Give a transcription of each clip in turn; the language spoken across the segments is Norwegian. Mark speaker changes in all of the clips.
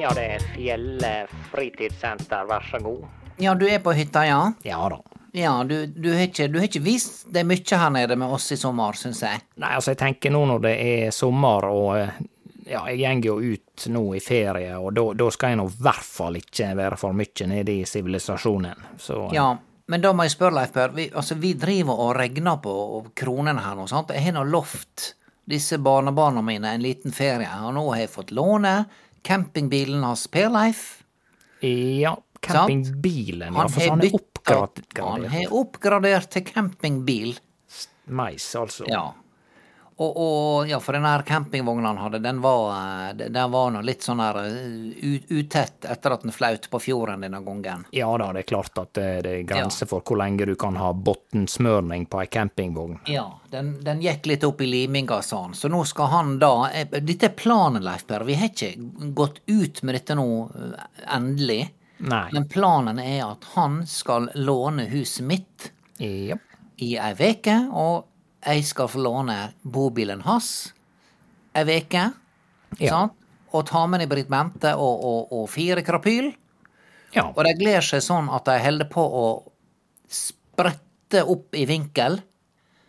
Speaker 1: Ja, det er Fjellet fritidssenter, vær så god.
Speaker 2: Ja, du er på hytta, ja?
Speaker 1: Ja da.
Speaker 2: Ja, du, du, har, ikke, du har ikke vist deg mye her nede med oss i sommer, syns jeg.
Speaker 1: Nei, altså, jeg tenker nå når det er sommer og eh, ja, jeg går jo ut nå i ferie, og da- da skal jeg nå i hvert fall ikke være for mye nede i sivilisasjonen. Så eh,
Speaker 2: Ja, men da må jeg spørre, Leif Per. Vi, altså, vi driver og regner på og kronene her nå, sant? Jeg har nå lovt disse barnebarna mine en liten ferie, og nå har jeg fått låne campingbilen hans Per-Leif.
Speaker 1: ja campingbilen, ja, for han er
Speaker 2: Han
Speaker 1: sånn oppgradert.
Speaker 2: har oppgradert til campingbil.
Speaker 1: Mais, altså.
Speaker 2: Ja. Og, og ja, for den her campingvogna han hadde, den var, eh, den- den var nå litt sånn her eh, ut- utett etter at den flaut på fjorden denne gangen.
Speaker 1: Ja da, det er klart at eh, det det er grenser for hvor lenge du kan ha bunnsmørning på ei campingvogn.
Speaker 2: Ja, den, den gikk litt opp i liminga, sa han. Så nå skal han da eh, Dette er planen, Leif Per. Vi har ikke gått ut med dette nå eh, endelig.
Speaker 1: Nei.
Speaker 2: Men planen er at han skal låne huset mitt
Speaker 1: Ja.
Speaker 2: i ei veke, og jeg skal få låne bobilen hans ei veke.
Speaker 1: Ja.
Speaker 2: Sant? Og ta med ned Britt Bente og, og, og fire krapyl.
Speaker 1: ja.
Speaker 2: Og de gleder seg sånn at de holder på å sprette opp i vinkel.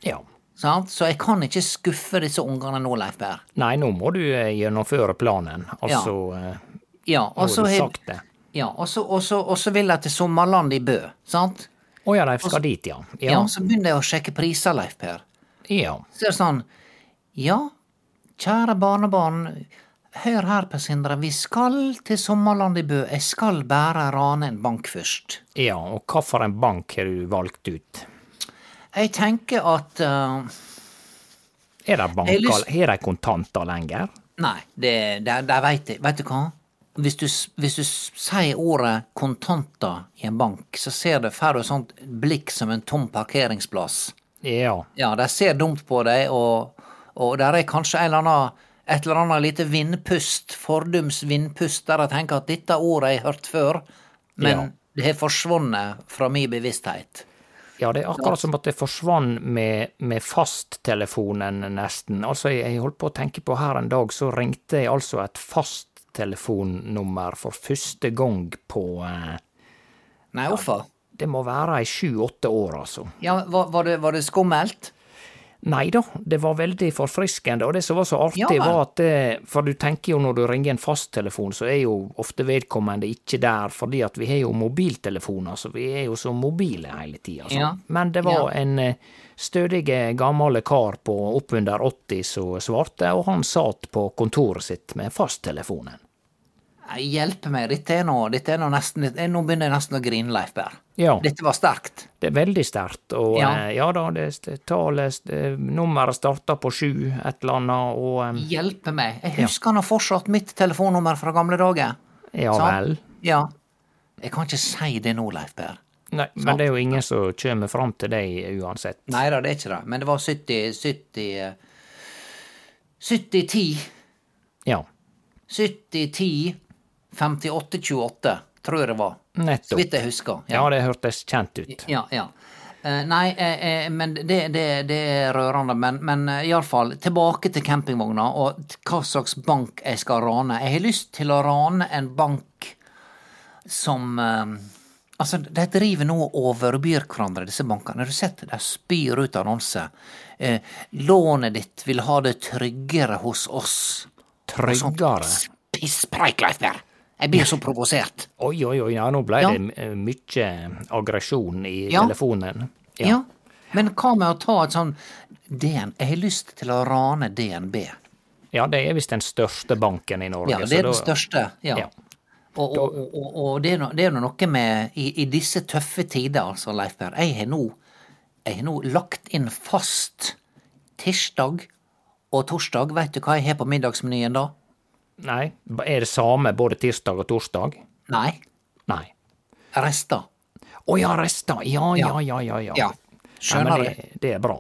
Speaker 1: ja.
Speaker 2: Sant? Så jeg kan ikke skuffe disse ungene nå, Leif Per.
Speaker 1: Nei, nå må du eh, gjennomføre planen. Altså eh,
Speaker 2: Ja,
Speaker 1: Nå
Speaker 2: og
Speaker 1: har
Speaker 2: så
Speaker 1: du
Speaker 2: har-
Speaker 1: sagt det.
Speaker 2: Ja, og så- og så og så vil jeg til sommerland i Bø, sant?
Speaker 1: Å ja, de skal dit, ja.
Speaker 2: Ja.
Speaker 1: Ja.
Speaker 2: Så begynner jeg å sjekke priser, Leif Per.
Speaker 1: ja.
Speaker 2: Så er det sånn Ja, kjære barnebarn. Hør her, Per Sindre. Vi skal til sommerland i Bø. Jeg skal bare rane en bank først.
Speaker 1: Ja, og hva for en bank har du valgt ut?
Speaker 2: Jeg tenker at eh,
Speaker 1: Er det
Speaker 2: Jeg har
Speaker 1: banker,
Speaker 2: lyst-
Speaker 1: har de kontanter lenger?
Speaker 2: Nei, det, det, det veit jeg. Vet du hva? Hvis du, s- hvis du s- sier ordet kontanter i en bank, så ser du, får du et sånt blikk som en tom parkeringsplass.
Speaker 1: Ja.
Speaker 2: Ja, de ser dumt på deg, og, og der er kanskje en eller annen, et eller annet lite vindpust, fordums vindpust, der jeg tenker at dette ordet har jeg hørt før, men
Speaker 1: Ja.
Speaker 2: det har forsvunnet fra min bevissthet.
Speaker 1: Ja, det er akkurat som at det forsvant med, med fasttelefonen, nesten. Altså, jeg, jeg holdt på å tenke på her en dag, så ringte jeg altså et fasttelefonnummer for første gang på eh,
Speaker 2: Nei, hvorfor?
Speaker 1: Det må være i sju-åtte år, altså.
Speaker 2: Ja, var, var, det, var det skummelt?
Speaker 1: Nei da, det var veldig forfriskende, og det som var så artig,
Speaker 2: Ja vel.
Speaker 1: var at det, For du tenker jo når du ringer en fasttelefon, så er jo ofte vedkommende ikke der, fordi at vi har jo mobiltelefoner, så vi er jo så mobile hele tida.
Speaker 2: Ja.
Speaker 1: Men det var en eh, stødig eh, gammel kar på oppunder 80 som svarte, og han satt på kontoret sitt med fasttelefonen.
Speaker 2: Nei, hjelp meg, dette er nå, dette er nå nesten dette er- Nå begynner jeg nesten å grine, Leif Berr.
Speaker 1: Ja, det,
Speaker 2: Dette var sterkt.
Speaker 1: er veldig sterkt, og ja,
Speaker 2: Ja.
Speaker 1: ja da, det, det tallet, det, nummeret starta på sju, et eller annet, og eh, em,
Speaker 2: Hjelpe meg. Jeg husker nå fortsatt mitt telefonnummer fra gamle dager.
Speaker 1: ja
Speaker 2: Sant?
Speaker 1: vel.
Speaker 2: Ja. Jeg kan ikke si det nå, Leif Berr.
Speaker 1: Nei, men det er jo ingen som kommer fram til deg uansett.
Speaker 2: Nei da, det er ikke det. Men det var 70 70 eh, 70-10.
Speaker 1: Ja,
Speaker 2: 70-10 58-28, tror jeg det var. Så
Speaker 1: nettopp.
Speaker 2: vidt jeg husker.
Speaker 1: Ja, det hørtes kjent ut.
Speaker 2: Ja, ja. Eh, nei, eh, eh, men det, det, det er rørende. Men, men eh, iallfall, tilbake til campingvogna og t- hva slags bank jeg skal rane. Jeg har lyst til å rane en bank som eh, Altså, de driver nå og overbyr hverandre, disse bankene. Har du sett? De spyr ut annonser. Eh, lånet ditt vil ha det tryggere hos oss.
Speaker 1: Tryggere.
Speaker 2: Pisspreik, Leif Berr! Jeg blir så provosert.
Speaker 1: Oi, oi, oi, ja, nå ble
Speaker 2: Ja.
Speaker 1: det eh, mye aggresjon i
Speaker 2: Ja.
Speaker 1: telefonen.
Speaker 2: Ja. Men hva med å ta et sånn DN, jeg har lyst til å rane DNB.
Speaker 1: Ja, det er visst den største banken i Norge.
Speaker 2: Ja,
Speaker 1: så
Speaker 2: det er
Speaker 1: da-
Speaker 2: den største. ja.
Speaker 1: Ja.
Speaker 2: Og, og, og, og det er no- det er nå noe med i, I disse tøffe tider, altså, Leif Per, jeg har nå, jeg har nå lagt inn fast tirsdag og torsdag. Veit du hva jeg har på middagsmenyen da?
Speaker 1: Nei, ba- er det samme både tirsdag og torsdag?
Speaker 2: Nei.
Speaker 1: Nei.
Speaker 2: Rester.
Speaker 1: Å ja, rester. Ja, ja, ja, ja. ja.
Speaker 2: Ja.
Speaker 1: Nei,
Speaker 2: Skjønner
Speaker 1: men
Speaker 2: du?
Speaker 1: det, det er bra.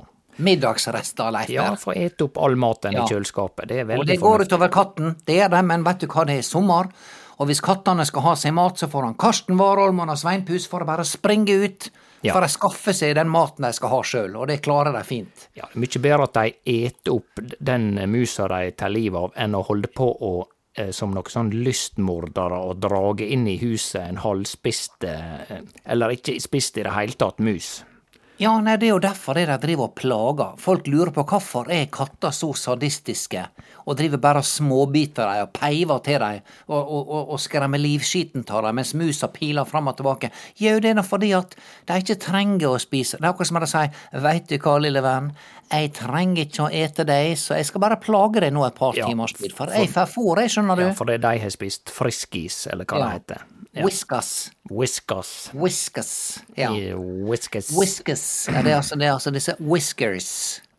Speaker 2: Middagsrester, Leif
Speaker 1: Ja,
Speaker 2: Per.
Speaker 1: få ete opp all maten
Speaker 2: Ja.
Speaker 1: i kjøleskapet. Det er
Speaker 2: Og
Speaker 1: veldig
Speaker 2: det går utover katten, det er det, men vet du hva, det er sommer. Og hvis kattene skal ha seg mat, så får han Karsten Warholm og han Sveinpus for å bare springe ut.
Speaker 1: Ja.
Speaker 2: For å skaffe seg den maten de skal ha sjøl, og det klarer de fint.
Speaker 1: Ja, det er mye bedre at de eter opp d- den musa de tar livet av, enn å holde på å, eh, som noen sånn lystmordere og drage inn i huset en halvspist eh, Eller ikke spist i det hele tatt mus.
Speaker 2: Ja, nei, det er jo derfor det de driver og plager. Folk lurer på hvorfor er katter så sadistiske, og driver bare og småbiter dem og peiver til dem og, og, og, og skremmer livskiten av dem mens musa piler fram og tilbake. Jo, det er nå fordi at de ikke trenger å spise. Det er akkurat som de sier, veit du hva, lille venn, jeg trenger ikke å ete deg, så jeg skal bare plage deg nå et par
Speaker 1: Ja,
Speaker 2: timers tid, for jeg får fôr, jeg, skjønner du.
Speaker 1: Ja, fordi de har spist friskis, eller hva det heter. Ja.
Speaker 2: Whiskas.
Speaker 1: Whiskas.
Speaker 2: Whiskas. Ja.
Speaker 1: Eh, Whiskas.
Speaker 2: Whiskas. Ja, det er altså, det er altså disse whiskers.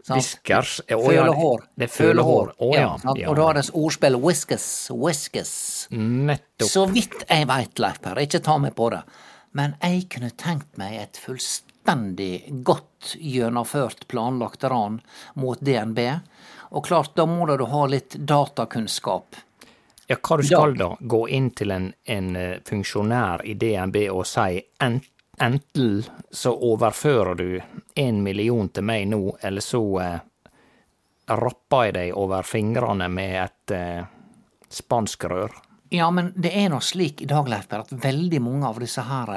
Speaker 2: sant?
Speaker 1: Whiskers. Ja, å ja, det-
Speaker 2: Følehår.
Speaker 1: Det er følehår. Å ja.
Speaker 2: sant?
Speaker 1: ja.
Speaker 2: Og da er det ordspill whiskers, whiskers.
Speaker 1: Nettopp.
Speaker 2: Så vidt jeg veit, Leif Per, ikke ta meg på det, men jeg kunne tenkt meg et fullstendig godt gjennomført planlagt ran mot DNB. Og klart, da må da du ha litt datakunnskap.
Speaker 1: Ja, hva du skal da? Gå inn til en, en eh, funksjonær i DNB og si en- enten så overfører du en million til meg nå, eller så eh, rapper jeg deg over fingrene med et eh, spansk rør.
Speaker 2: Ja, men det er nå slik i dag, Leif Per, at veldig mange av disse her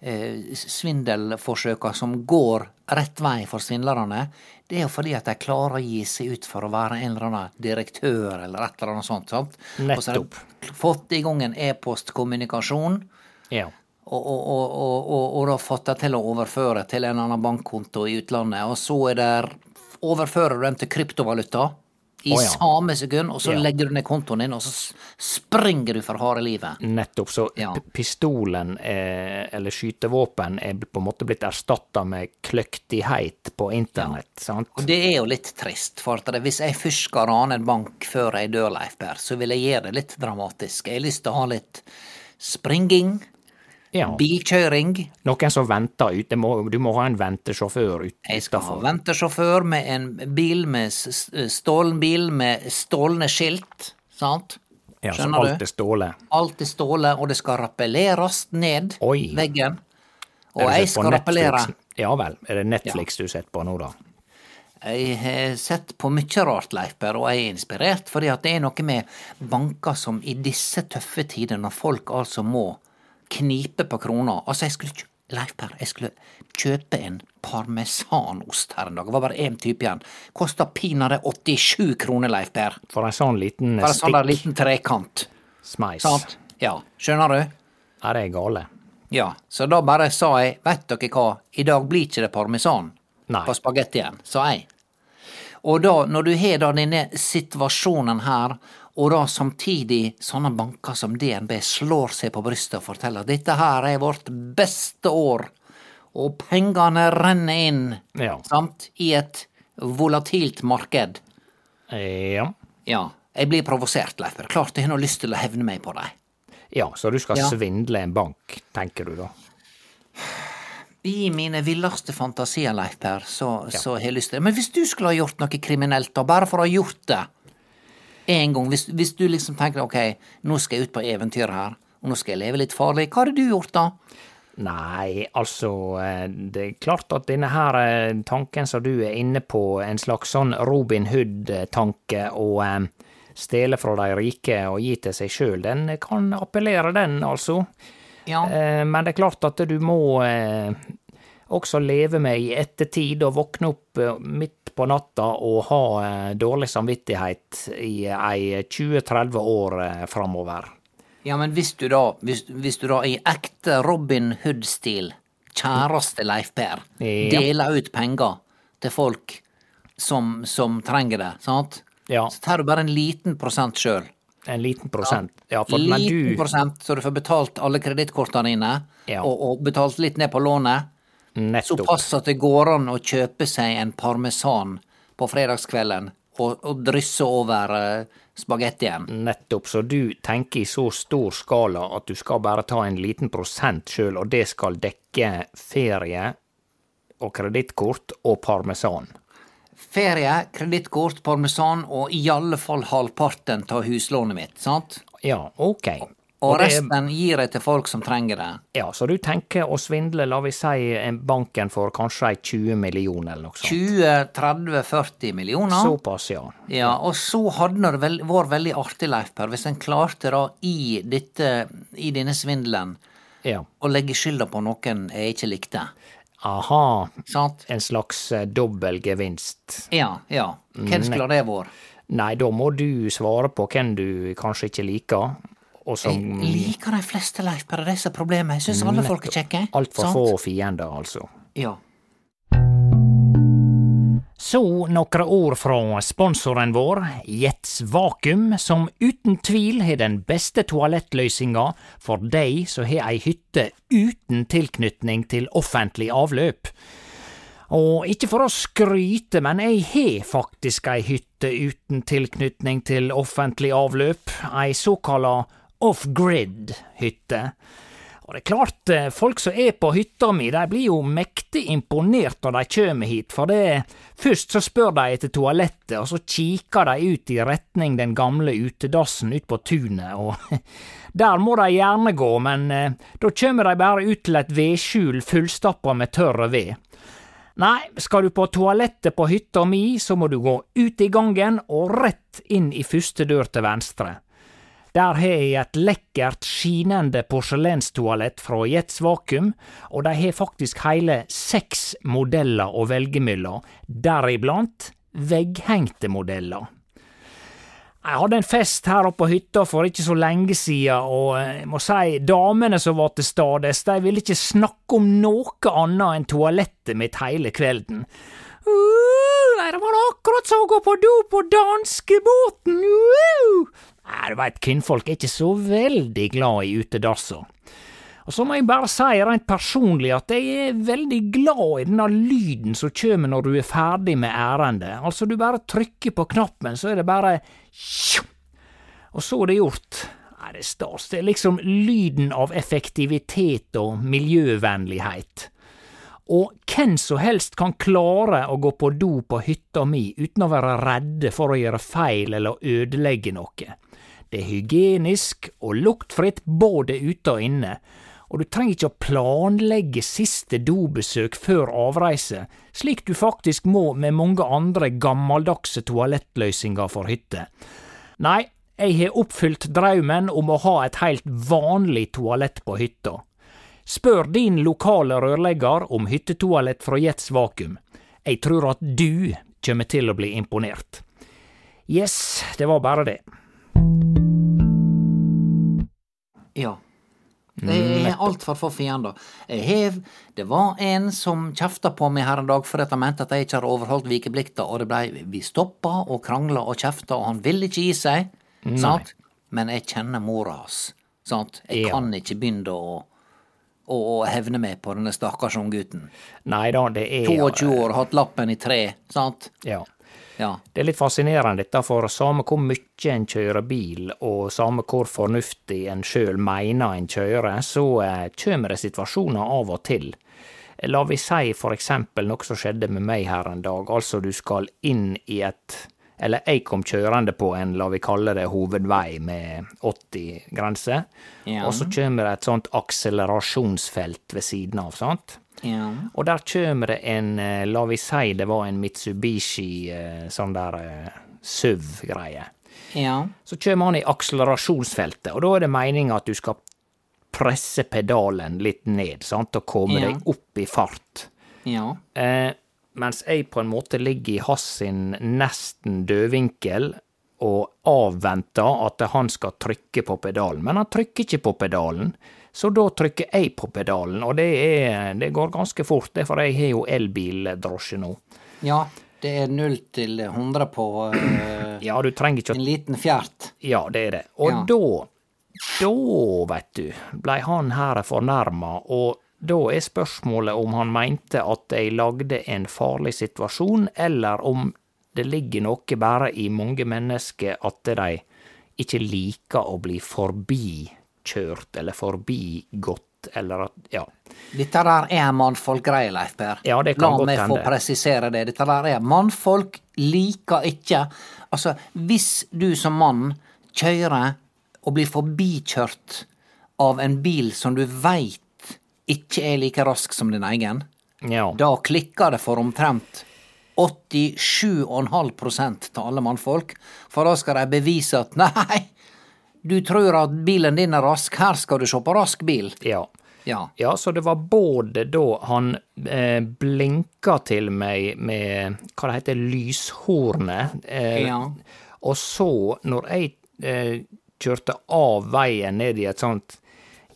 Speaker 2: eh, svindelforsøka som går rett vei for svindlerne, det er jo fordi at de klarer å gi seg ut for å være en eller annen direktør eller et eller annet sånt. sant? Og så har de fått i gang en e-postkommunikasjon.
Speaker 1: Ja.
Speaker 2: Og, og, og, og, og, og da fatter til å overføre til en annen bankkonto i utlandet, og så er det overfører du dem til kryptovaluta i
Speaker 1: Å ja.
Speaker 2: samme sekund, og så
Speaker 1: Ja.
Speaker 2: legger du ned kontoen din, og så s- springer du for harde livet.
Speaker 1: Nettopp. Så
Speaker 2: Ja.
Speaker 1: p- pistolen, eh, eller skytevåpen, er på en måte blitt erstatta med kløktighet på internett, sant?
Speaker 2: Og det er jo litt trist, for at det, hvis jeg først skal rane en bank før jeg dør, Leif Per, så vil jeg gjøre det litt dramatisk. Jeg har lyst til å ha litt springing,
Speaker 1: Ja.
Speaker 2: bilkjøring.
Speaker 1: Noen som venter ute. Må, du må ha en ventesjåfør
Speaker 2: Jeg skal ha
Speaker 1: utafor.
Speaker 2: ventesjåfør med en bil med s- s- stålen bil med stålne skilt, sant?
Speaker 1: Ja, så
Speaker 2: Skjønner
Speaker 1: alt
Speaker 2: du?
Speaker 1: er ståle.
Speaker 2: Alt er ståle, og det skal rappelleres ned
Speaker 1: Oi.
Speaker 2: veggen.
Speaker 1: Er
Speaker 2: Og
Speaker 1: det
Speaker 2: jeg
Speaker 1: sett på
Speaker 2: skal rappellere.
Speaker 1: Netflix? Ja vel. Er det Netflix du sitter på nå, da?
Speaker 2: Jeg har sett på mye rart, Leif Per, og jeg er inspirert, fordi at det er noe med banker som i disse tøffe tider, når folk altså må knipe på krona Altså, jeg skulle kjø- Leif Per, jeg skulle kjøpe en parmesanost her en dag. Det var bare én type igjen. Kosta pinadø 87 kroner, Leif Per.
Speaker 1: For en sånn liten
Speaker 2: Bare sånn der sånn.
Speaker 1: stikk
Speaker 2: liten trekant.
Speaker 1: smeis.
Speaker 2: Sant? Ja. Skjønner du?
Speaker 1: Er det gale?
Speaker 2: Ja, så da bare sa jeg, veit dere hva, i dag blir ikke det parmesan
Speaker 1: Nei.
Speaker 2: på spagettien, sa jeg. Og da, når du har da denne situasjonen her, og da samtidig sånne banker som DNB slår seg på brystet og forteller at dette her er vårt beste år, og pengene renner inn,
Speaker 1: Ja.
Speaker 2: sant, i et volatilt marked.
Speaker 1: ja.
Speaker 2: Ja, jeg blir provosert, Leif. Per. Klart jeg har nå lyst til å hevne meg på dem.
Speaker 1: Ja, så du skal
Speaker 2: Ja.
Speaker 1: svindle en bank, tenker du da?
Speaker 2: I mine villeste fantasier, Leif Per, så, så har jeg lyst til Men hvis du skulle ha gjort noe kriminelt, da, bare for å ha gjort det en gang Hvis, hvis du liksom tenker ok, nå skal jeg ut på eventyr her, og nå skal jeg leve litt farlig, hva hadde du gjort da?
Speaker 1: Nei, altså eh, Det er klart at denne her eh, tanken som du er inne på, en slags sånn Robin Hood-tanke å eh, stjele fra de rike og gi til seg sjøl, den kan appellere, den, altså.
Speaker 2: Ja,
Speaker 1: Eh, Men det er klart at du må eh, også leve med i ettertid og våkne opp eh, midt på natta og ha eh, dårlig samvittighet i eh, ei 20-30 år eh, framover.
Speaker 2: ja men hvis du da, hvis, hvis du da i ekte Robin Hood-stil, kjæreste Leif Per,
Speaker 1: Ja.
Speaker 2: deler ut penger til folk som, som trenger det, sant?
Speaker 1: Ja,
Speaker 2: Så tar du bare en liten prosent sjøl.
Speaker 1: en liten prosent. Ja, for, men
Speaker 2: Liten
Speaker 1: du
Speaker 2: prosent, så du får betalt alle kredittkortene dine,
Speaker 1: Ja.
Speaker 2: og, og betalt litt ned på lånet.
Speaker 1: Nettopp.
Speaker 2: Såpass at det går an å kjøpe seg en parmesan på fredagskvelden og, og drysse over uh, spagettien.
Speaker 1: Nettopp. Så du tenker i så stor skala at du skal bare ta en liten prosent sjøl, og det skal dekke ferie og kredittkort og parmesan.
Speaker 2: Ferie, kredittkort, parmesan og i alle fall halvparten av huslånet mitt. sant?
Speaker 1: Ja, ok.
Speaker 2: Og
Speaker 1: det-
Speaker 2: resten gir jeg til folk som trenger det.
Speaker 1: Ja, så du tenker å svindle, la vi si, en banken for kanskje ei 20 millioner eller noe sånt.
Speaker 2: 20-30-40 millioner.
Speaker 1: Såpass, ja.
Speaker 2: Ja, og så hadde det vel, vært veldig artig, Leif Per, hvis en klarte da i, dette, i denne svindelen
Speaker 1: ja.
Speaker 2: å legge skylda på noen jeg ikke likte.
Speaker 1: Aha.
Speaker 2: Sant?
Speaker 1: En slags eh, dobbel gevinst.
Speaker 2: Ja, ja. Hvem skulle det vært?
Speaker 1: Nei, da må du svare på hvem du kanskje ikke liker, og som
Speaker 2: Jeg liker de fleste, Leif Per, det er så problemet. Jeg syns alle folk er kjekke.
Speaker 1: altfor
Speaker 2: Eh, sant?
Speaker 1: få fiender, altså.
Speaker 2: Ja.
Speaker 1: Så nokre ord fra sponsoren vår, Jets Vakuum, som uten tvil har den beste toalettløysinga for dei som har ei hytte uten tilknytning til offentlig avløp. Og ikke for å skryte, men jeg har faktisk ei hytte uten tilknytning til offentlig avløp, ei såkalla off-grid-hytte. Og det er klart, eh, folk som er på hytta mi, de blir jo mektig imponert når de kjem hit, for det først så spør de etter toalettet, og så kikker de ut i retning den gamle utedassen ut på tunet, og der må de gjerne gå, men eh, da kjem de bare ut til et vedskjul fullstappa med tørr ved. Nei, skal du på toalettet på hytta mi, så må du gå ut i gangen og rett inn i første dør til venstre. Der har jeg et lekkert, skinende porselenstoalett fra Jets Vakuum, og de har faktisk hele seks modeller å velge mellom, deriblant vegghengte modeller. Jeg hadde en fest her oppe på hytta for ikke så lenge siden, og eh, jeg må si damene som var til stades, de ville ikke snakke om noe annet enn toalettet mitt hele kvelden. Uh, nei, det var akkurat som å gå på do på danskebåten! Uh. Nei, du veit, kvinnfolk er ikke så veldig glad i utedasser. Og så må jeg bare si rent personlig at jeg er veldig glad i denne lyden som kommer når du er ferdig med ærendet. Altså, du bare trykker på knappen, så er det bare tjo, Og så er det gjort. Nei, det er stas. Det er liksom lyden av effektivitet og miljøvennlighet. Og hvem som helst kan klare å gå på do på hytta mi uten å være redde for å gjøre feil eller ødelegge noe. Det er hygienisk og luktfritt både ute og inne, og du trenger ikke å planlegge siste dobesøk før avreise, slik du faktisk må med mange andre gammeldagse toalettløsninger for hytter. Nei, jeg har oppfylt draumen om å ha et helt vanlig toalett på hytta. Spør din lokale rørlegger om hyttetoalett fra Jets Vakuum. Jeg tror at du kommer til å bli imponert. Yes, det var bare det.
Speaker 2: Ja. Jeg har altfor få fiender. Jeg hev, det var en som kjefta på meg her en dag fordi at han mente at jeg ikke hadde overholdt vikeplikta, og det blei vi stoppa og krangla og kjefta, og han ville ikke gi seg. Sant? Men jeg kjenner mora hans. Sant? Jeg
Speaker 1: Ja.
Speaker 2: kan ikke begynne å, å, å hevne meg på denne stakkars unggutten.
Speaker 1: Nei da, det er
Speaker 2: 22 år, hatt lappen i tre. Sant?
Speaker 1: Ja.
Speaker 2: Ja.
Speaker 1: Det er litt fascinerende dette, for samme hvor mye en kjører bil, og samme hvor fornuftig en sjøl mener en kjører, så eh, kommer det situasjoner av og til. La vi si for eksempel noe som skjedde med meg her en dag, altså du skal inn i et Eller jeg kom kjørende på en, la vi kalle det, hovedvei med 80-grense,
Speaker 2: Ja.
Speaker 1: og så kommer det et sånt akselerasjonsfelt ved siden av, sant?
Speaker 2: ja.
Speaker 1: Og der kjem det en, eh, la vi si det var en Mitsubishi eh, sånn der eh, SUV-greie.
Speaker 2: Ja.
Speaker 1: Så kjem han i akselerasjonsfeltet, og da er det meninga at du skal presse pedalen litt ned, sant, og komme
Speaker 2: Ja.
Speaker 1: deg opp i fart.
Speaker 2: Ja.
Speaker 1: Eh, mens jeg på en måte ligger i hans sin nesten dødvinkel og avventer at han skal trykke på pedalen. Men han trykker ikke på pedalen, så da trykker jeg på pedalen, og det, er, det går ganske fort, det, for jeg har jo elbildrosje nå.
Speaker 2: ja. Det er null til 100 på eh,
Speaker 1: Ja, du trenger ikke å
Speaker 2: en liten fjert.
Speaker 1: Ja, det er det. Og
Speaker 2: Ja.
Speaker 1: da, da, veit du, blei han her fornærma, og da er spørsmålet om han meinte at de lagde en farlig situasjon, eller om det ligger noe bare i mange mennesker at de ikke liker å bli forbikjørt eller forbigått, eller at Ja.
Speaker 2: Dette der er mannfolk-greie, Leif Per.
Speaker 1: Ja, det kan
Speaker 2: La
Speaker 1: godt
Speaker 2: meg få
Speaker 1: hende.
Speaker 2: presisere det. Dette der er Mannfolk liker ikke Altså, hvis du som mann kjører og blir forbikjørt av en bil som du veit ikke er like rask som din egen,
Speaker 1: ja.
Speaker 2: da klikker det for omtrent 87,5 av alle mannfolk. For da skal de bevise at nei, du tror at bilen din er rask, her skal du se på rask bil.
Speaker 1: ja.
Speaker 2: Ja.
Speaker 1: Ja, så det var både da han eh, blinka til meg med hva det heter, lyshornet, eh,
Speaker 2: Ja.
Speaker 1: og så, når jeg eh, kjørte av veien ned i et sånt,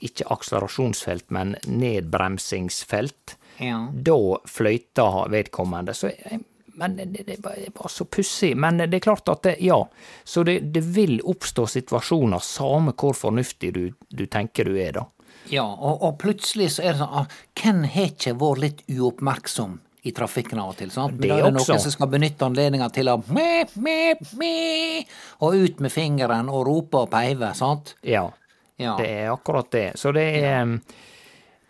Speaker 1: ikke akselerasjonsfelt, men nedbremsingsfelt,
Speaker 2: ja.
Speaker 1: da fløyta vedkommende. Så jeg, men det, det, var, det var så pussig. Men det er klart at det, ja. Så det, det vil oppstå situasjoner, samme hvor fornuftig du, du tenker du er, da.
Speaker 2: Ja, og, og plutselig så er det sånn ah, Hvem har ikke vært litt uoppmerksom i trafikken av og til? sant? Men
Speaker 1: Det
Speaker 2: da er det
Speaker 1: også.
Speaker 2: noen som skal benytte anledninga til å mep, mep, mep, Og ut med fingeren og rope og peive, sant?
Speaker 1: Ja.
Speaker 2: Ja.
Speaker 1: Det er akkurat det. Så det er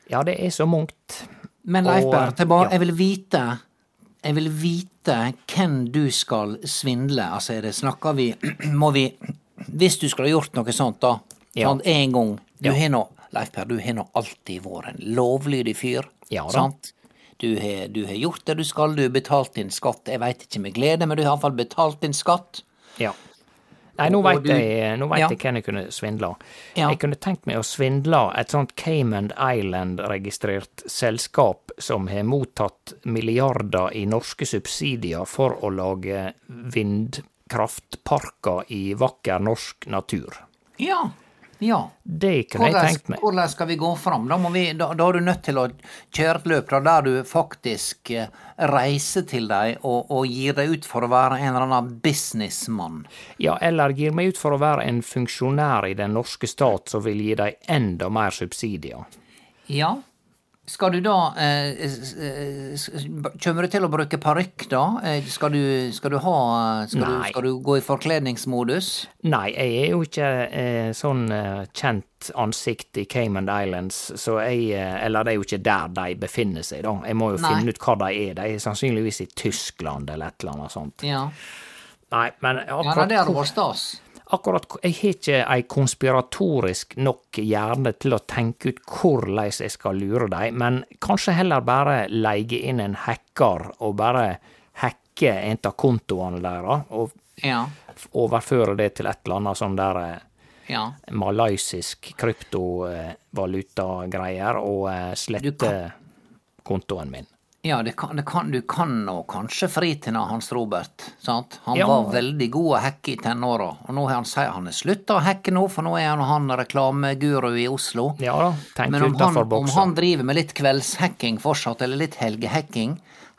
Speaker 1: Ja, det er så mangt.
Speaker 2: Men Leif
Speaker 1: og,
Speaker 2: Berr,
Speaker 1: eh,
Speaker 2: tilbake-
Speaker 1: ja.
Speaker 2: jeg vil vite Jeg vil vite hvem du skal svindle. Altså, er det snakker vi Må vi Hvis du skulle ha gjort noe sånt, da.
Speaker 1: Ja.
Speaker 2: Sant, en gang. Du har nå Leif Per, du har nå alltid vært en lovlydig fyr.
Speaker 1: Ja da.
Speaker 2: Sant? Du har, du har gjort det du skal, du har betalt din skatt. Jeg veit ikke med glede, men du har iallfall betalt din skatt.
Speaker 1: Ja. Nei, nå
Speaker 2: Og- og
Speaker 1: veit
Speaker 2: du-
Speaker 1: jeg, nå vet
Speaker 2: Ja.
Speaker 1: jeg hvem jeg kunne svindla.
Speaker 2: Ja.
Speaker 1: Jeg kunne tenkt meg å svindle et sånt Cayman Island-registrert selskap som har mottatt milliarder i norske subsidier for å lage vindkraftparker i vakker norsk natur.
Speaker 2: Ja. Ja.
Speaker 1: Det kunne jeg
Speaker 2: Hvordan,
Speaker 1: tenkt meg.
Speaker 2: hvordan skal vi gå fram? Da, må vi, da, da er du nødt til å kjøre et løp da, der du faktisk eh, reiser til dem og, og gir deg ut for å være en eller annen businessmann.
Speaker 1: Ja, eller gir meg ut for å være en funksjonær i den norske stat som vil gi dem enda mer subsidier.
Speaker 2: Ja. Skal du da eh, s- eh, s- Kommer du til å bruke parykk, da? Eh, Skal du, skal du ha skal du,
Speaker 1: Nei.
Speaker 2: skal du gå i forkledningsmodus?
Speaker 1: Nei, jeg er jo ikke eh, sånn eh, kjent ansikt i Cayman Islands, så jeg eh, Eller det er jo ikke der de befinner seg, da. Jeg må jo
Speaker 2: Nei.
Speaker 1: finne ut hva de er. De er sannsynligvis i Tyskland eller et eller annet sånt.
Speaker 2: Ja.
Speaker 1: Nei, men
Speaker 2: ja nei,
Speaker 1: akkurat,
Speaker 2: det hadde vært stas.
Speaker 1: akkurat Jeg har ikke ei konspiratorisk nok hjerne til å tenke ut hvordan jeg skal lure dem, men kanskje heller bare leie inn en hacker og bare hacke en av kontoene deres, og
Speaker 2: Ja.
Speaker 1: f- overføre det til et eller annet sånn der eh,
Speaker 2: ja.
Speaker 1: malaysisk kryptovaluta-greier og eh, slette kontoen min.
Speaker 2: Ja, det kan, det kan, du kan nå kanskje fri til nå, Hans Robert. sant? Han
Speaker 1: Ja.
Speaker 2: var veldig god å hacke i tenåra, og nå har han sier han er slutta å hacke nå, for nå er han, han reklameguru i Oslo.
Speaker 1: Ja da, tenk
Speaker 2: Men om han,
Speaker 1: utenfor
Speaker 2: om
Speaker 1: boksen.
Speaker 2: han driver med litt kveldshacking fortsatt, eller litt helgehacking,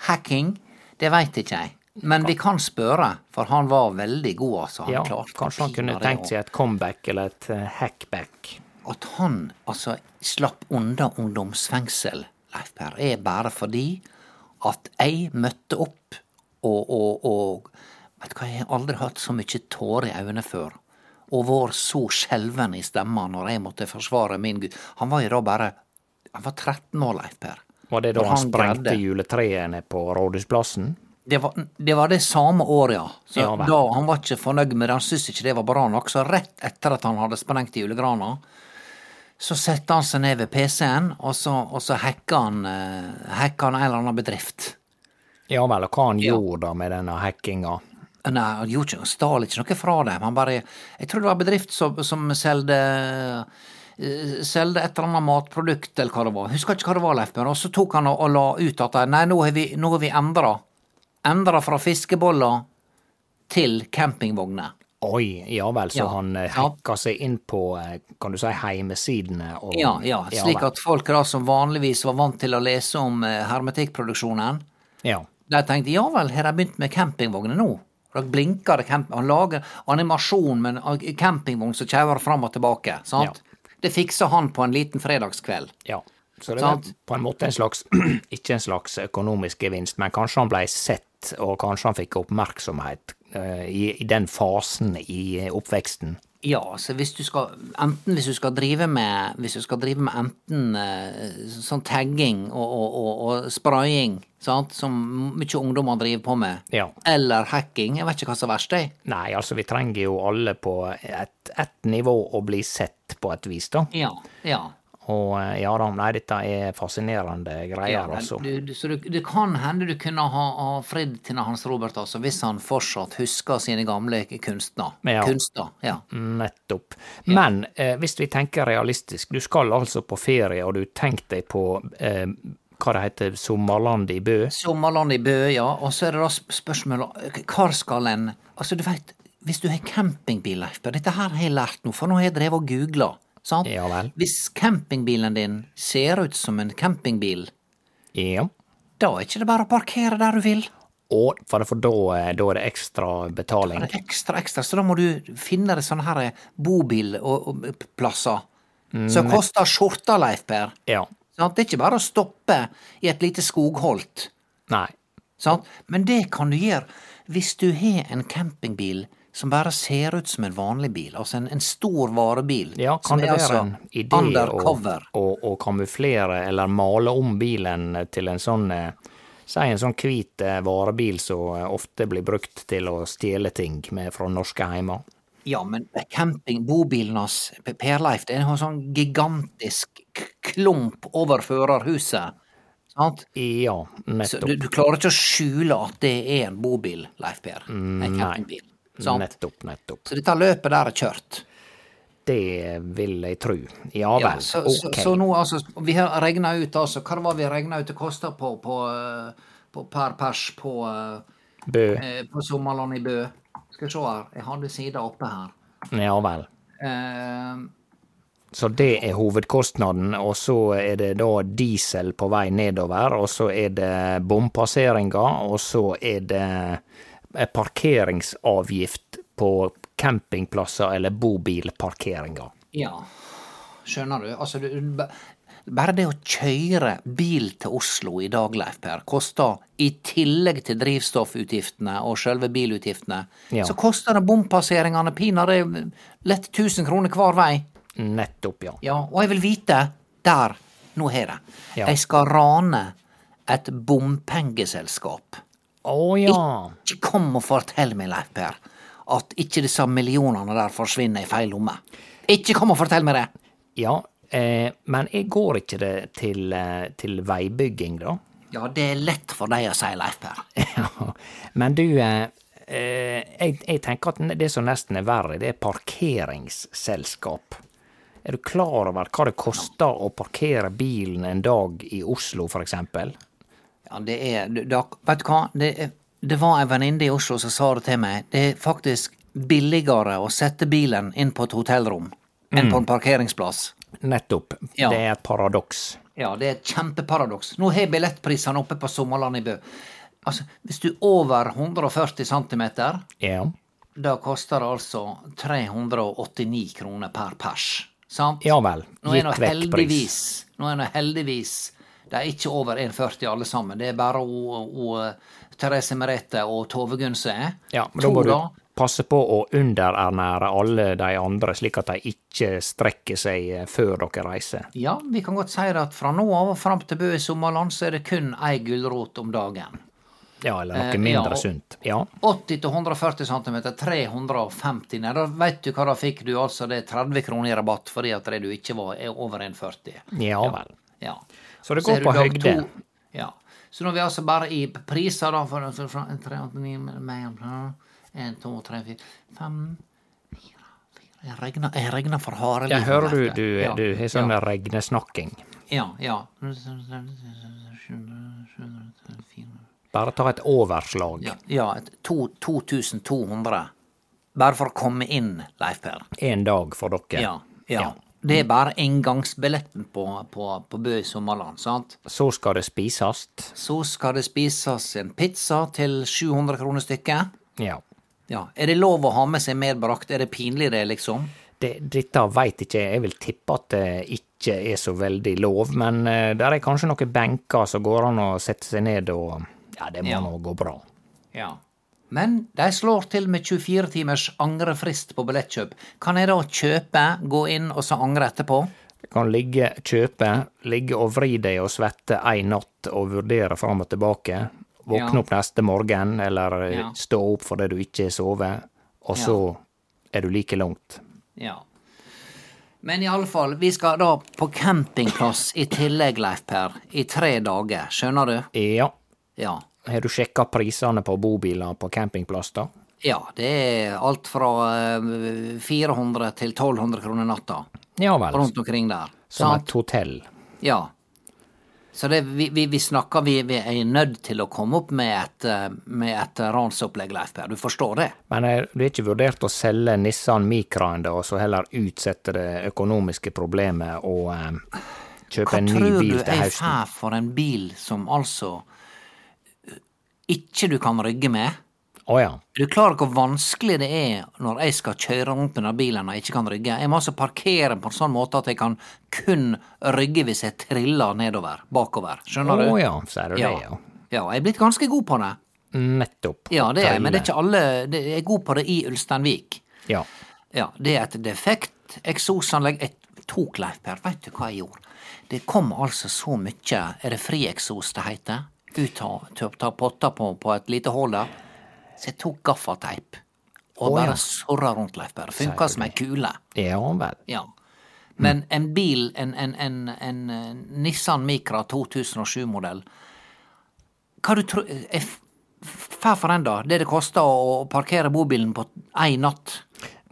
Speaker 2: hacking, det veit ikke jeg. Men vi kan spørre, for han var veldig god, altså. Han
Speaker 1: Ja,
Speaker 2: klarte å
Speaker 1: kanskje han
Speaker 2: pine
Speaker 1: kunne
Speaker 2: det, og-
Speaker 1: tenkt seg et comeback eller et eh, hackback.
Speaker 2: at han altså slapp unna ungdomsfengsel, Leif Per, er bare fordi at jeg møtte opp og, og, og Vet du hva, jeg har aldri hatt så mye tårer i øynene før. Og var så skjelven i stemma når jeg måtte forsvare min gud. Han var jo da bare Han var 13 år, Leif Per.
Speaker 1: Var det da
Speaker 2: Når
Speaker 1: han
Speaker 2: han
Speaker 1: sprengte
Speaker 2: greide.
Speaker 1: juletreene på Rådhusplassen?
Speaker 2: Det var, det var det samme året, ja. Så
Speaker 1: Ja, vel.
Speaker 2: da Han var ikke fornøyd med det, han syntes ikke det var bra nok, så rett etter at han hadde sprengt i julegrana, så satte han seg ned ved PC-en, og så, og så hacka han, eh, hacka han en eller annen bedrift.
Speaker 1: Ja vel, og hva han gjorde da med denne hackinga?
Speaker 2: Nei, han gjorde ikke, han stal ikke noe fra dem. Han bare Jeg tror det var en bedrift som, som selgde eh, Selgde et eller annet matprodukt, eller hva det var. Husker ikke hva det var, Leif Bjørn. Og så tok han og, og la ut at nei, nå har vi, nå har vi endra. Endra fra fiskeboller til campingvogner.
Speaker 1: Oi, ja vel, så
Speaker 2: Ja.
Speaker 1: han eh,
Speaker 2: Ja.
Speaker 1: hacka seg inn på, eh, kan du si, heimesidene og
Speaker 2: Ja, ja. Slik
Speaker 1: vel.
Speaker 2: at folk da som vanligvis var vant til å lese om eh, hermetikkproduksjonen,
Speaker 1: Ja.
Speaker 2: De tenkte ja vel, har de begynt med campingvogner nå? Da blinker det camp Han lager animasjon med en campingvogn som kjører fram og tilbake. sant? Det fikser han på en liten fredagskveld.
Speaker 1: Ja. Så det var
Speaker 2: Sant.
Speaker 1: på en måte en slags Ikke en slags økonomisk gevinst, men kanskje han blei sett, og kanskje han fikk oppmerksomhet eh, i, i den fasen i eh, oppveksten.
Speaker 2: Ja, så hvis du skal enten hvis du skal drive med hvis du skal drive med enten eh, sånn tagging og, og, og, og spraying, sant, som mye ungdommer driver på med,
Speaker 1: Ja.
Speaker 2: eller hacking, jeg vet ikke hva som er verst, jeg.
Speaker 1: Nei, altså, vi trenger jo alle på ett et nivå å bli sett på et vis, da.
Speaker 2: Ja, ja.
Speaker 1: Og eh, ja da, nei, dette er fascinerende greier,
Speaker 2: men
Speaker 1: altså.
Speaker 2: Du, du, så du, det kan hende du kunne ha, ha fridd til Hans Robert, altså, hvis han fortsatt husker sine gamle kunstner.
Speaker 1: Ja.
Speaker 2: Kunster, ja.
Speaker 1: Nettopp. Men eh, hvis vi tenker realistisk, du skal altså på ferie, og du tenker deg på eh, hva det heter, sommerland i Bø.
Speaker 2: Sommerland i Bø, ja. Og så er det da sp- spørsmålet Hvor skal en Altså, du veit, hvis du har campingbil, Leif Berr, Dette her har jeg lært nå, for nå har jeg drevet og googla. Sant?
Speaker 1: Ja vel.
Speaker 2: Hvis campingbilen din ser ut som en campingbil,
Speaker 1: Ja.
Speaker 2: da er ikke det bare å parkere der du vil.
Speaker 1: Og for, for da, eh, da er det ekstra betaling.
Speaker 2: Det er ekstra, ekstra. Så da må du finne deg sånne her eh, bobilplasser. eh,
Speaker 1: Mm,
Speaker 2: Som koster skjorta, Leif Per.
Speaker 1: Ja.
Speaker 2: Sant? Det er ikke bare å stoppe i et lite skogholt.
Speaker 1: Nei.
Speaker 2: Sant? Men det kan du gjøre hvis du har en campingbil som bare ser ut som en vanlig bil, altså en, en stor varebil.
Speaker 1: Ja, kan
Speaker 2: som
Speaker 1: det
Speaker 2: er
Speaker 1: være
Speaker 2: altså
Speaker 1: en idé å,
Speaker 2: undercover.
Speaker 1: å, å kamuflere eller male om bilen til en sånn eh, Si en sånn hvit eh, varebil som eh, ofte blir brukt til å stjele ting med, fra norske heimer.
Speaker 2: Ja, men camping, bobilen hans, P- Per Leif, det er en sånn gigantisk k- klump over førerhuset. Sant?
Speaker 1: Ja,
Speaker 2: Så
Speaker 1: nettopp.
Speaker 2: du, du klarer ikke å skjule at det er en bobil, Leif Per. En campingbil. Sant?
Speaker 1: Nettopp, nettopp.
Speaker 2: Så dette løpet der er kjørt.
Speaker 1: Det vil jeg tru. Ja vel,
Speaker 2: Ja, så, så,
Speaker 1: ok.
Speaker 2: så nå altså Vi har regna ut altså Hva det var vi regna ut det kosta på, på, eh, på per pers på,
Speaker 1: Bø.
Speaker 2: eh, på Sommerland i Bø? Skal vi se her. Jeg hadde sida oppe her.
Speaker 1: Ja vel.
Speaker 2: Eh,
Speaker 1: Så det er hovedkostnaden, og så er det da diesel på vei nedover, og så er det bompasseringer, og så er det eh, parkeringsavgift på campingplasser eller bobilparkeringer.
Speaker 2: ja. Skjønner du? Altså, du du- bare det å kjøre bil til Oslo i dag, Leif Per, koster i tillegg til drivstoffutgiftene og sjølve bilutgiftene,
Speaker 1: Ja.
Speaker 2: så koster det bompasseringene pinadø lett 1000 kroner hver vei.
Speaker 1: Nettopp, ja.
Speaker 2: Ja, og jeg vil vite Der! Nå har jeg det.
Speaker 1: Ja.
Speaker 2: Jeg skal rane et bompengeselskap.
Speaker 1: Å ja.
Speaker 2: Ikke kom og fortell meg, Leif Per, at ikke disse millionene der forsvinner i feil lomme. Ikke kom og fortell meg det!
Speaker 1: Ja, eh, men jeg går ikke det til, eh, til veibygging, da?
Speaker 2: Ja, det er lett for deg å si, Leif Per.
Speaker 1: Ja, men du, eh, eh, jeg, jeg tenker at det som nesten er verre, det er parkeringsselskap. Er du klar over hva det koster å parkere bilen en dag i Oslo, for eksempel?
Speaker 2: Ja, det er du- da, Vet du hva? Det, er- det var ei venninne i Oslo som sa det til meg. Det er faktisk billigere å sette bilen inn på et hotellrom enn på en parkeringsplass.
Speaker 1: Nettopp.
Speaker 2: Ja.
Speaker 1: Det er et paradoks.
Speaker 2: Ja, det er et kjempeparadoks. Nå har billettprisene oppe på Sommerland i Bø. Altså, hvis du er over 140 cm,
Speaker 1: Ja.
Speaker 2: da koster det altså 389 kroner per pers. Sant?
Speaker 1: ja vel.
Speaker 2: nå er nå
Speaker 1: Gitt vekk pris.
Speaker 2: heldigvis Nå er nå heldigvis de er ikke over 1,40 alle sammen. Det er bare o, o, Therese Merete og Tove eh? Gunn som er.
Speaker 1: Ja, men da må du
Speaker 2: Tora,
Speaker 1: passe på å underernære alle de andre, slik at de ikke strekker seg eh, før dere reiser.
Speaker 2: Ja, vi kan godt si det at fra nå av og fram til Bø i Sommerland, så er det kun ei gulrot om dagen.
Speaker 1: Ja, eller
Speaker 2: Eh,
Speaker 1: noe
Speaker 2: ja,
Speaker 1: mindre
Speaker 2: og-
Speaker 1: sunt. Ja.
Speaker 2: 80-140 cm, 350 Nei, da veit du hva da fikk du altså det er 30 kroner i rabatt fordi at det du ikke var, er over 1,40.
Speaker 1: Ja vel.
Speaker 2: Ja.
Speaker 1: Så det
Speaker 2: Så
Speaker 1: går
Speaker 2: er du
Speaker 1: på
Speaker 2: dag
Speaker 1: høgde.
Speaker 2: to- Ja. Så nå er vi altså bare i p- priser, da, for altså fra 389 mellom 1, 2, 3, 4, 5 4, 4 Jeg regner, jeg regner for harde
Speaker 1: Jeg
Speaker 2: livet,
Speaker 1: hører du,
Speaker 2: vet
Speaker 1: du,
Speaker 2: Ja,
Speaker 1: du har sånn regnesnakking.
Speaker 2: Ja, ja.
Speaker 1: Bare ta et overslag.
Speaker 2: Ja, ja et to- 2200. Bare for å komme inn, Leif Per.
Speaker 1: En dag for dere.
Speaker 2: Ja. ja. Det er bare inngangsbilletten på, på, på Bø i sommerland, sant?
Speaker 1: Så skal det spisast.
Speaker 2: Så skal det spises en pizza til 700 kroner stykket.
Speaker 1: Ja.
Speaker 2: Ja. Er det lov å ha med seg medbrakt? Er det pinlig, det, liksom?
Speaker 1: Det, dette veit ikke jeg. Jeg vil tippe at det ikke er så veldig lov, men eh, der er kanskje noen benker som går an å sette seg ned og Ja, det må
Speaker 2: Ja.
Speaker 1: nå gå bra.
Speaker 2: Ja. Men de slår til med 24 timers angrefrist på billettkjøp. Kan jeg da kjøpe, gå inn og så angre etterpå?
Speaker 1: Du kan ligge, kjøpe, ligge og vri deg og svette ei natt og vurdere fram og tilbake. Våkne
Speaker 2: Ja.
Speaker 1: opp neste morgen, eller eh,
Speaker 2: Ja.
Speaker 1: stå opp fordi du ikke sover, og så er du like langt.
Speaker 2: Ja. Men i alle fall, vi skal da på campingplass i tillegg, Leif Per, i tre dager. Skjønner du?
Speaker 1: Ja.
Speaker 2: Ja.
Speaker 1: Har du sjekka prisene på bobiler på campingplass, da?
Speaker 2: Ja, det er alt fra eh, 400 til 1200 kroner natta.
Speaker 1: Ja vel.
Speaker 2: Rundt omkring der.
Speaker 1: Som
Speaker 2: Sant?
Speaker 1: et hotell.
Speaker 2: Ja. Så det, vi, vi, vi snakker vi, vi er nødt til å komme opp med et, eh, med et ransopplegg, Leif Per. Du forstår det?
Speaker 1: Men eh, det er ikke vurdert å selge Nissan Micraen, da, og så heller utsette det økonomiske problemet og eh, kjøpe
Speaker 2: Hva
Speaker 1: en ny
Speaker 2: tror du
Speaker 1: bil til
Speaker 2: jeg
Speaker 1: høsten?
Speaker 2: får for en bil som altså ikke du kan rygge med?
Speaker 1: Å ja.
Speaker 2: Er du klar over hvor vanskelig det er når jeg skal kjøre rundt med den bilen og jeg ikke kan rygge? Jeg må altså parkere på en sånn måte at jeg kan kun rygge hvis jeg triller nedover, bakover.
Speaker 1: Å
Speaker 2: Skjønner du?
Speaker 1: ja, sier du det, ja.
Speaker 2: ja, jeg er blitt ganske god på det.
Speaker 1: Nettopp.
Speaker 2: Ja, det er jeg, men
Speaker 1: Trille.
Speaker 2: det er ikke alle det, Jeg er god på det i Ulsteinvik.
Speaker 1: Ja.
Speaker 2: Ja, det er et defekt eksosanlegg. Jeg tok Leif Per, veit du hva jeg gjorde? Det kom altså så mye Er det frieksos det heter? Ut av til å ta potta på, på et lite hull der. Så jeg tok gaffateip og
Speaker 1: Å, ja.
Speaker 2: bare surra rundt Leif Per. Funka som ei kule.
Speaker 1: ja vel.
Speaker 2: Ja. Men en bil, en, en, en, en, eh, Nissan Micra 2007-modell Hva du tror Jeg f- får for den, da? Det det koster å å parkere bobilen på én natt?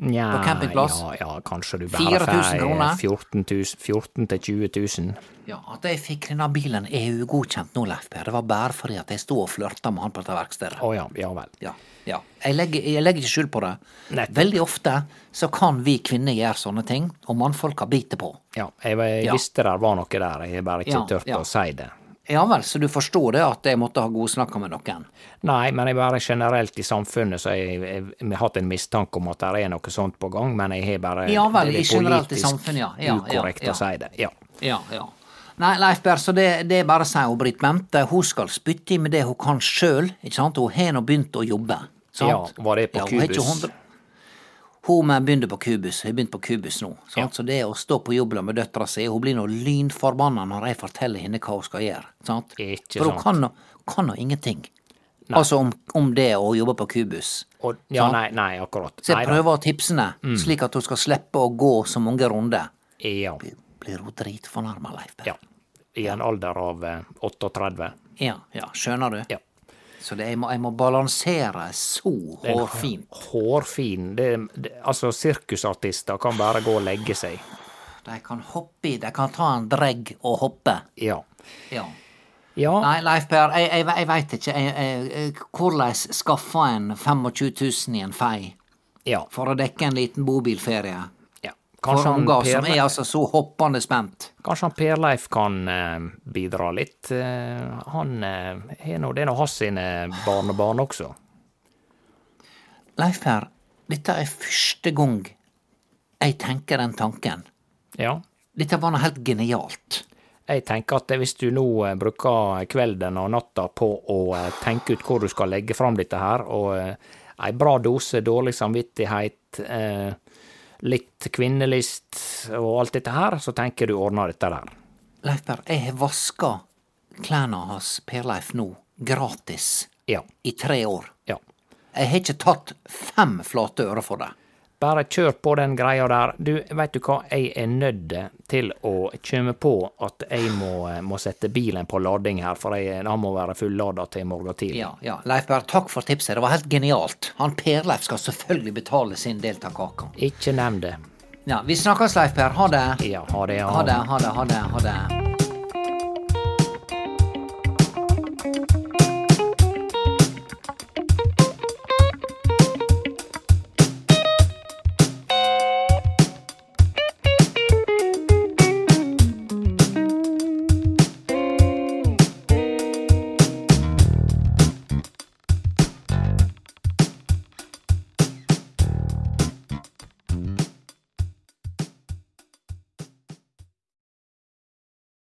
Speaker 1: Nja,
Speaker 2: På campingplass?
Speaker 1: Ja, ja, kanskje du bare
Speaker 2: 4000
Speaker 1: får
Speaker 2: kroner?
Speaker 1: 14 000, 14 til 20 000.
Speaker 2: Ja, At jeg fikk denne bilen EU-godkjent nå, Leif Per, det var bare fordi at jeg sto og flørta med han på dette verkstedet.
Speaker 1: Å ja, ja vel.
Speaker 2: Ja, ja. Jeg, legger, jeg legger ikke skjul på det.
Speaker 1: Nettopp.
Speaker 2: Veldig ofte så kan vi kvinner gjøre sånne ting, og mannfolka biter på.
Speaker 1: Ja, jeg, jeg
Speaker 2: Ja.
Speaker 1: visste der var noe der, jeg har bare ikke
Speaker 2: Ja,
Speaker 1: tørt
Speaker 2: ja.
Speaker 1: å si det.
Speaker 2: Ja vel, så du forstår det at jeg måtte ha godsnakka med noen?
Speaker 1: Nei, men jeg bare generelt i samfunnet så jeg, jeg, jeg har hatt en mistanke om at det er noe sånt på gang, men jeg har bare
Speaker 2: Ja vel,
Speaker 1: det
Speaker 2: i
Speaker 1: er
Speaker 2: generelt i
Speaker 1: politisk
Speaker 2: samfunnet, ja. Ja, ja,
Speaker 1: ukorrekt
Speaker 2: ja.
Speaker 1: å si det. Ja.
Speaker 2: Ja, ja. Nei, Leif Berr, så det, det er bare å si hun Britt Bente, hun skal spytte i med det hun kan sjøl, ikke sant? Hun har nå begynt å jobbe, sant?
Speaker 1: Ja, var det på
Speaker 2: hun har ikke
Speaker 1: Cubus?
Speaker 2: hundre- Hun men begynner på kubus, har begynt på kubus nå, sant?
Speaker 1: Ja.
Speaker 2: så det å stå på jobb med døtra si, hun blir nå lynforbanna når jeg forteller henne hva hun skal gjøre, sant?
Speaker 1: Ikke
Speaker 2: For
Speaker 1: sant.
Speaker 2: hun kan nå- kan nå ingenting. Altså om, om det å jobbe på kubus.
Speaker 1: Og, ja,
Speaker 2: Sant.
Speaker 1: nei, nei, akkurat.
Speaker 2: Så jeg
Speaker 1: Nei da.
Speaker 2: prøver å tipse henne,
Speaker 1: Mm.
Speaker 2: slik at hun skal slippe å gå så mange runder.
Speaker 1: Ja.
Speaker 2: Blir hun dritfornærma, Leif Berr?
Speaker 1: ja. I en alder av eh, 38.
Speaker 2: Ja, ja, skjønner du?
Speaker 1: Ja.
Speaker 2: Så det, jeg, må, jeg må balansere så hårfint.
Speaker 1: Hårfin. Det, det, altså, sirkusartister kan bare gå og legge seg.
Speaker 2: De kan hoppe i, de kan ta en dregg og hoppe.
Speaker 1: Ja.
Speaker 2: Ja.
Speaker 1: Ja,
Speaker 2: Nei, Leif Per, jeg, jeg, jeg veit ikke. Jeg, jeg, jeg, hvordan skaffa en 25 000 i en fei
Speaker 1: ja.
Speaker 2: for å dekke en liten bobilferie?
Speaker 1: ja.
Speaker 2: For
Speaker 1: Kanskje han
Speaker 2: unger
Speaker 1: Per
Speaker 2: som er altså så hoppende spent.
Speaker 1: Kanskje han Per Leif kan eh, bidra litt. Eh, han eh, har nå- Det er nå hans sine barnebarn også.
Speaker 2: Leif Per, dette er første gang jeg tenker den tanken.
Speaker 1: Ja.
Speaker 2: Dette var noe helt genialt.
Speaker 1: Jeg tenker at hvis du nå eh, bruker kvelden og natta på å eh, tenke ut hvor du skal legge fram dette her, og eh, ei bra dose dårlig samvittighet, eh, litt kvinnelist og alt dette her, så tenker du ordner dette der.
Speaker 2: Leif Per, jeg har vaska klærne hans Per Leif nå, gratis,
Speaker 1: Ja.
Speaker 2: i tre år.
Speaker 1: Ja.
Speaker 2: Jeg har ikke tatt fem flate øre for det.
Speaker 1: Bare kjør på den greia der. Du, veit du hva, jeg er nødt til å kjøme på at jeg må, må sette bilen på lading her, for jeg, han må være fullada til i morgen tidlig.
Speaker 2: Ja, ja, Leif Per, takk for tipset, det var helt genialt. Han Per Leif skal selvfølgelig betale sin del av kaka.
Speaker 1: Ikke nevn det.
Speaker 2: Ja, vi snakkes, Leif Per. Ha det.
Speaker 1: Ja, ha det. ja.
Speaker 2: Ha det, ha det, ha det. Ha det.